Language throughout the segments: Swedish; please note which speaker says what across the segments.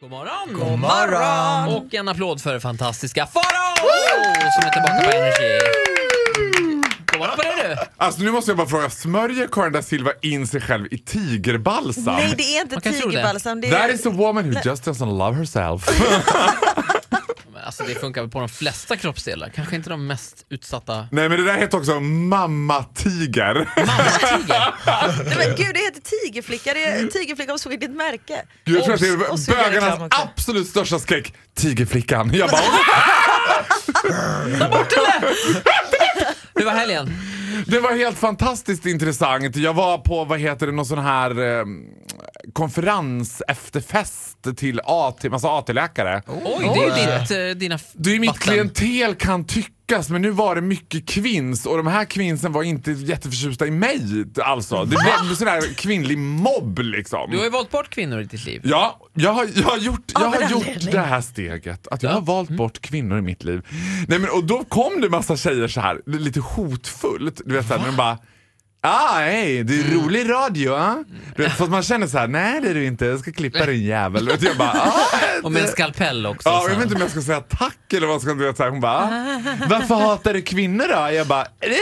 Speaker 1: God morgon!
Speaker 2: God morgon!
Speaker 1: Och en applåd för fantastiska Farao som är tillbaka på Energy. God morgon på dig du!
Speaker 3: Alltså nu måste jag bara fråga, smörjer Karin da Silva in sig själv i tigerbalsam?
Speaker 2: Nej, det är inte
Speaker 1: Man kan tro det.
Speaker 2: tigerbalsam. Det
Speaker 3: That
Speaker 2: är...
Speaker 3: is a woman who just doesn't love herself.
Speaker 1: Men alltså det funkar väl på de flesta kroppsdelar, kanske inte de mest utsatta.
Speaker 3: Nej men det där heter också mamma-tiger.
Speaker 1: Mammatiger!
Speaker 2: Nej, men gud, det heter tigerflicka. Det är tigerflicka om såg i ditt märke.
Speaker 3: Gud, jag tror att det
Speaker 2: Och så
Speaker 3: är
Speaker 2: gör jag reklam
Speaker 3: bögarnas
Speaker 2: också.
Speaker 3: absolut största skräck, tigerflickan. Jag bara,
Speaker 1: Hur var helgen?
Speaker 3: det var helt fantastiskt intressant. Jag var på, vad heter det, någon sån här eh, konferens efterfest till AT, massa AT-läkare.
Speaker 2: Oh.
Speaker 1: Oj, det är ju ditt, eh, dina f-
Speaker 3: Det är mitt
Speaker 1: vatten.
Speaker 3: klientel kan tyckas, men nu var det mycket kvinns och de här kvinsen var inte jätteförtjusta i mig alltså. Det blev sån där kvinnlig mobb liksom.
Speaker 1: Du har ju valt bort kvinnor i ditt liv.
Speaker 3: Ja, jag har, jag har gjort, jag
Speaker 2: men
Speaker 3: har
Speaker 2: den
Speaker 3: gjort
Speaker 2: ledningen.
Speaker 3: det här steget. Att jag
Speaker 1: Ja. Mm.
Speaker 3: har valt bort kvinnor i mitt liv. Nej, men, och då kom det massa tjejer så här lite hotfullt. Du vet, så här, när de bara Ah, hej, det är
Speaker 1: Mm.
Speaker 3: rolig radio, ah. Du vet, fast man känner så här, nej det är du inte, jag ska klippa din jävel. Du vet, jag bara, ah,
Speaker 1: Och med en skalpell också.
Speaker 3: Ja,
Speaker 1: så.
Speaker 3: jag vet inte om jag ska säga tack eller vad jag ska du vet, så här, Hon bara, "Ah, varför hatar du kvinnor då? Jag bara, det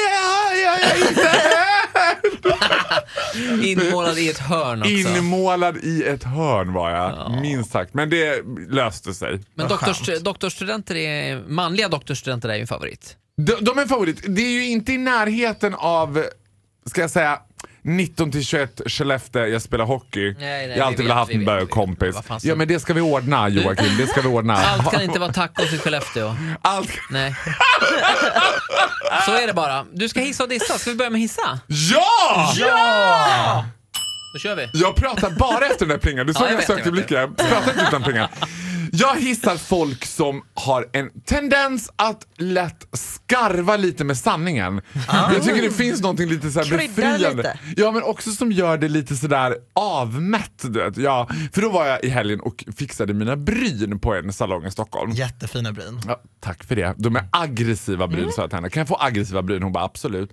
Speaker 3: har jag inte.
Speaker 1: Inmålad i ett hörn också.
Speaker 3: Inmålad i ett hörn var jag, minst sagt. Men det löste sig.
Speaker 1: Men doktors, doktorsstudenter är, manliga doktorsstudenter är ju en favorit.
Speaker 3: De, de är en favorit. Det är ju inte i närheten av, ska jag säga, 19 till 21 Skellefteå, jag spelar hockey.
Speaker 1: nej,
Speaker 3: jag
Speaker 1: vi
Speaker 3: har alltid
Speaker 1: vet,
Speaker 3: velat haft
Speaker 1: vi
Speaker 3: en
Speaker 1: vet, vi
Speaker 3: bögkompis.
Speaker 1: vet. Vad fan
Speaker 3: Ja
Speaker 1: så-
Speaker 3: men det ska vi ordna Joakim, det ska vi ordna.
Speaker 1: Allt kan inte vara tacos i Skellefteå.
Speaker 3: Allt-
Speaker 1: Nej. Så är det bara. Du ska hissa och dissa. Ska vi börja med hissa?
Speaker 3: Ja!
Speaker 1: Då kör vi.
Speaker 3: Jag pratar bara efter den där plingan. Du såg
Speaker 1: Ja, jag
Speaker 3: jag,
Speaker 1: vet, jag
Speaker 3: sökte
Speaker 1: vet.
Speaker 3: blicken. Jag pratar inte utan plingan. Jag hissar folk som har en tendens att lätt skarva lite med sanningen.
Speaker 1: Ah.
Speaker 3: Jag tycker det finns någonting lite så här
Speaker 2: Krydda
Speaker 3: befriande.
Speaker 2: lite.
Speaker 3: Ja, men också som gör det lite sådär avmätt. Du vet. Ja, för då var jag i helgen och fixade mina bryn på en salong i Stockholm.
Speaker 4: Jättefina bryn.
Speaker 3: Ja, tack för det. De är aggressiva bryn,
Speaker 1: Mm.
Speaker 3: sa jag till henne. Kan jag få aggressiva bryn? Hon bara absolut.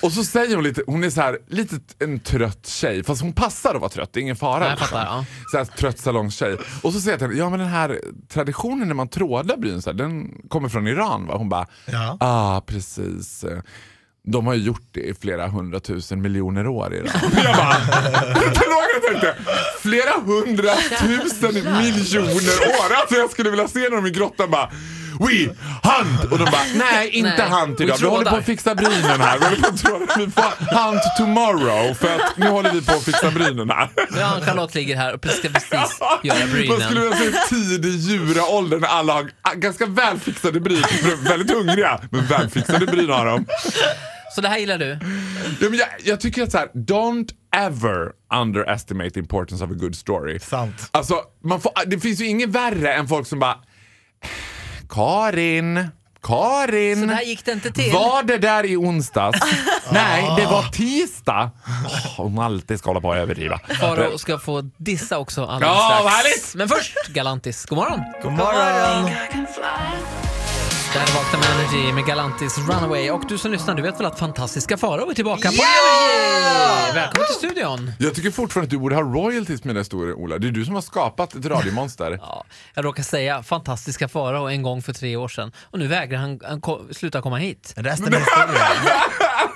Speaker 3: Och så säger hon lite, hon är så här, lite t- en trött tjej. Fast hon passar att vara trött, det är ingen fara.
Speaker 1: Nej, jag fattar, ja.
Speaker 3: Så här, trött salongstjej. Och så säger jag till henne, ja men den här traditionen när man trådar bryn, så här, den kommer från Iran va? Hon bara,
Speaker 4: Ja.
Speaker 3: ah precis. De har ju gjort det i flera hundratusen miljoner år i Iran. Jag bara, vilken låg jag tänkte! Flera hundratusen miljoner år! Alltså jag skulle vilja se när de i grottan bara We hunt! Och de bara, nej inte
Speaker 1: Nej,
Speaker 3: hunt
Speaker 1: vi
Speaker 3: idag. Vi håller på
Speaker 1: trådar."
Speaker 3: att fixa brynen här. Vi håller på att tråda. Vi får hunt tomorrow för att nu håller vi på att fixa brynen här.
Speaker 1: Nu har Charlotte ligger här och ska precis göra
Speaker 3: Man skulle
Speaker 1: brynen.
Speaker 3: vilja se tidig djuraålder när alla har ah, ganska välfixade bryn. För de är Väldigt hungriga, men välfixade bryn har de.
Speaker 1: Så det här gillar du?
Speaker 3: Ja, men jag, jag tycker att så här, don't ever underestimate the importance of a good story.
Speaker 4: Sant.
Speaker 3: Alltså, man får, det finns ju inget värre än folk som bara Karin, Karin.
Speaker 2: liksom-
Speaker 1: Så det här gick det inte till? Ah.
Speaker 3: Var det där i onsdags? Nej, det var tisdag. Oh, hon alltid ska hålla på och överdriva.
Speaker 1: Faro ska få dissa också alldeles
Speaker 3: Ja,
Speaker 1: strax.
Speaker 3: vad härligt!
Speaker 1: Men först Galantis. God morgon!
Speaker 4: God morgon!
Speaker 1: Det här är Vakna med Energy med Galantis Runaway. Och du som lyssnar, du vet väl att fantastiska Faro är tillbaka på
Speaker 4: Ja!
Speaker 1: Energy! Välkommen till studion!
Speaker 3: Jag tycker fortfarande att du borde ha royalties med den historien, Ola. Det är du som har skapat ett radiomonster.
Speaker 1: Ja, jag råkar säga fantastiska Farao en gång för tre år sedan och nu vägrar han, han ko- sluta komma hit.
Speaker 4: Resten är historia.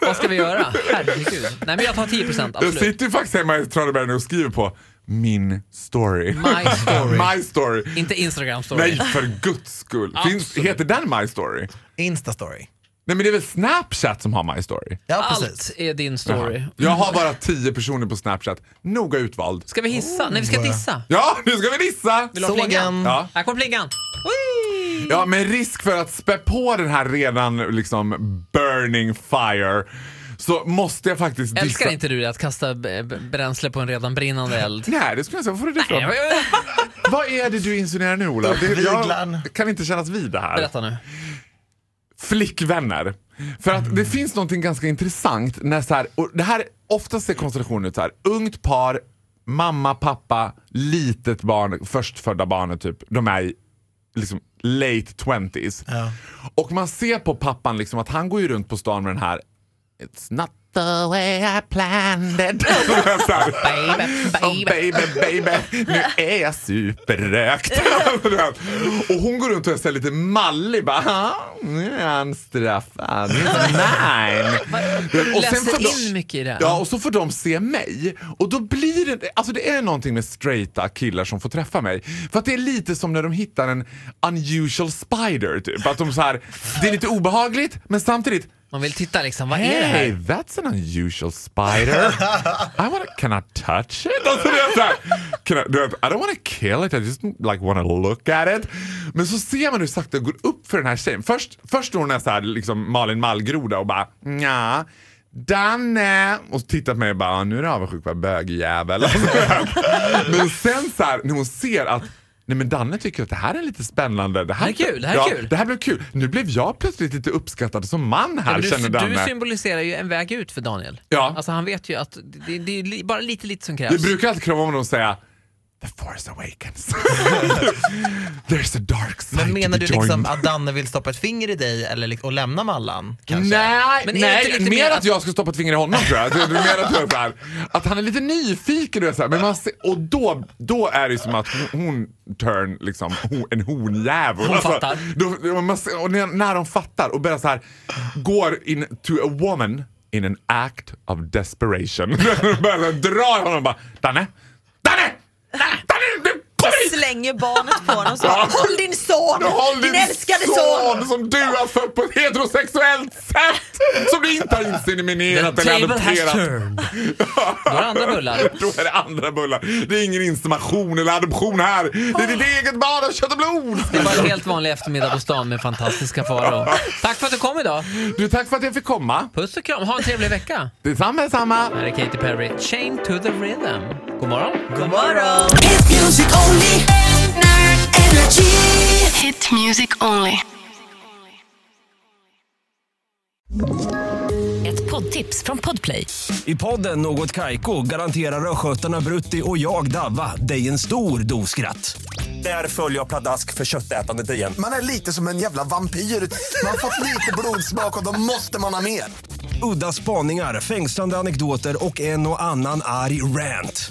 Speaker 1: Vad ska vi göra? Herregud. Nej men jag tar 10%
Speaker 3: Jag
Speaker 1: absolut.
Speaker 3: sitter ju faktiskt hemma i Traneberg nu och skriver på min story.
Speaker 1: My story.
Speaker 3: My story.
Speaker 1: Inte Instagram
Speaker 3: Nej,
Speaker 1: story.
Speaker 3: för guds skull. Finns, heter den My Story?
Speaker 4: Instastory.
Speaker 3: Nej, men det är väl Snapchat som har My Story?
Speaker 4: Ja,
Speaker 1: Allt
Speaker 4: precis.
Speaker 1: är din story.
Speaker 3: Jaha. Jag har bara tio personer på Snapchat. Noga utvald.
Speaker 1: Ska vi hissa? Nej vi ska dissa.
Speaker 3: Oh, Ja, nu ska vi dissa!
Speaker 1: Vill du ha
Speaker 4: Såg
Speaker 1: plingan?
Speaker 4: en.
Speaker 3: Ja.
Speaker 1: Här kommer plingan. Oj!
Speaker 3: Ja, med risk för att spä på den här redan liksom burning fire så måste jag faktiskt dissa.
Speaker 1: Älskar inte du det, att kasta b- b- bränsle på en redan brinnande eld?
Speaker 3: Nej, det skulle jag säga. Vad får du det ifrån?
Speaker 1: Nej, jag-
Speaker 3: Vad är det du insinuerar nu, Ola? Det,
Speaker 4: Viglan.
Speaker 3: jag kan inte kännas vid det här.
Speaker 1: Berätta nu.
Speaker 3: flickvänner. För att det finns någonting ganska intressant när så här, och det här oftast ser konstellationen ut så här, ungt par, mamma, pappa, litet barn, förstfödda barnet typ, de är i liksom late 20s.
Speaker 4: Ja.
Speaker 3: Och man ser på pappan liksom att han går ju runt på stan med den här It's not the way I planned it. Alltså, Så här. Oh, baby, baby, nu är jag superrökt. och hon går runt och är så här lite mallig. Bara, "Ja, nu är han straffad. Nu är han mine." Och sen får
Speaker 1: Läser
Speaker 3: de-
Speaker 1: in mycket i det. här.
Speaker 3: Ja, och så får de se mig. Och då blir det, alltså det är någonting med straighta killar som får träffa mig. För att det är lite som när de hittar en unusual spider typ. Att de så här, det är lite obehagligt men samtidigt
Speaker 1: Man vill titta liksom, vad är det
Speaker 3: Hey,
Speaker 1: här?
Speaker 3: that's an unusual spider. I wanna, can I touch it? Alltså, det är så här, can I, du vet, I don't wanna kill it, I just like wanna look at it. Men så ser man hur sakta det går upp för den här tjejen. Först, först står hon där så här, liksom Malin Mallgroda och bara nja. Danne! Och tittar på mig och bara, "Ah, nu är du avundsjuk va bögjävel. Alltså, du vet. men sen så här, när hon ser att Nej men Danne tycker att det här är lite spännande. Det här,
Speaker 1: Det här är kul, det här är
Speaker 3: ja,
Speaker 1: kul."
Speaker 3: Det här blev kul. Nu blev jag plötsligt lite uppskattad som man här
Speaker 1: Men
Speaker 3: känner
Speaker 1: Du,
Speaker 3: Danne.
Speaker 1: du symboliserar ju en väg ut för Daniel.
Speaker 3: Ja.
Speaker 1: Alltså han vet ju att det, det är li- bara lite lite som
Speaker 3: Vi
Speaker 1: krävs.
Speaker 3: brukar alltid krama om dem och säga The force awakens. There's a dark side
Speaker 4: Men
Speaker 3: to
Speaker 4: menar du
Speaker 3: be joined.
Speaker 4: liksom att Danne vill stoppa ett finger i dig eller, li- och lämna Mallan? Kanske?
Speaker 3: Nej,
Speaker 1: Men är det inte
Speaker 3: nej
Speaker 1: lite
Speaker 3: mer
Speaker 1: mer
Speaker 3: att
Speaker 1: att-
Speaker 3: jag ska stoppa ett finger i honom tror jag. Du, du menar att, jag så här, att han är lite nyfiken och så här, men man ser, och då, då är det som att hon, hon turn liksom, hon, en honjävel.
Speaker 1: Hon fattar.
Speaker 3: Då, då- man ser, och när, när de fattar och börjar så här, går in to a woman in an act of desperation. De börjar så här, dra i honom och bara, Danne, Danne, Danne, du, kom hit!
Speaker 2: Slänger barnet på honom och så
Speaker 3: Ja.
Speaker 2: Håll din son!
Speaker 3: Du har
Speaker 2: din,
Speaker 3: din
Speaker 2: älskade son!
Speaker 3: som du har fött på ett heterosexuellt sätt! Som du inte har inseminerat
Speaker 1: The
Speaker 3: eller
Speaker 1: table has
Speaker 3: adopterat.
Speaker 1: turned. Då är det andra bullar.
Speaker 3: Då är det andra bullar. Det är ingen insemination eller adoption här. Det är ditt
Speaker 2: Ah.
Speaker 3: eget barn av kött och blod.
Speaker 1: Det var en helt vanlig eftermiddag på stan med fantastiska faror. Tack för att du kom idag.
Speaker 3: Du, tack för att jag fick komma.
Speaker 1: Puss och kram, ha en trevlig vecka.
Speaker 3: Detsamma, detsamma.
Speaker 1: Här är Katy Perry, Chain to the Rhythm. God morgon.
Speaker 2: God morgon!
Speaker 5: Hit music only. Energy.
Speaker 6: Hit music only.
Speaker 7: Ett poddtips från Podplay.
Speaker 8: I podden Något Kaiko garanterar östgötarna Brutti och jag, Davva, dig en stor dos skratt. Där följer jag pladask för köttätandet igen.
Speaker 9: Man är lite som en jävla vampyr. Man har fått lite blodsmak och då måste man ha mer.
Speaker 8: Udda spaningar, fängslande anekdoter och en och annan arg rant.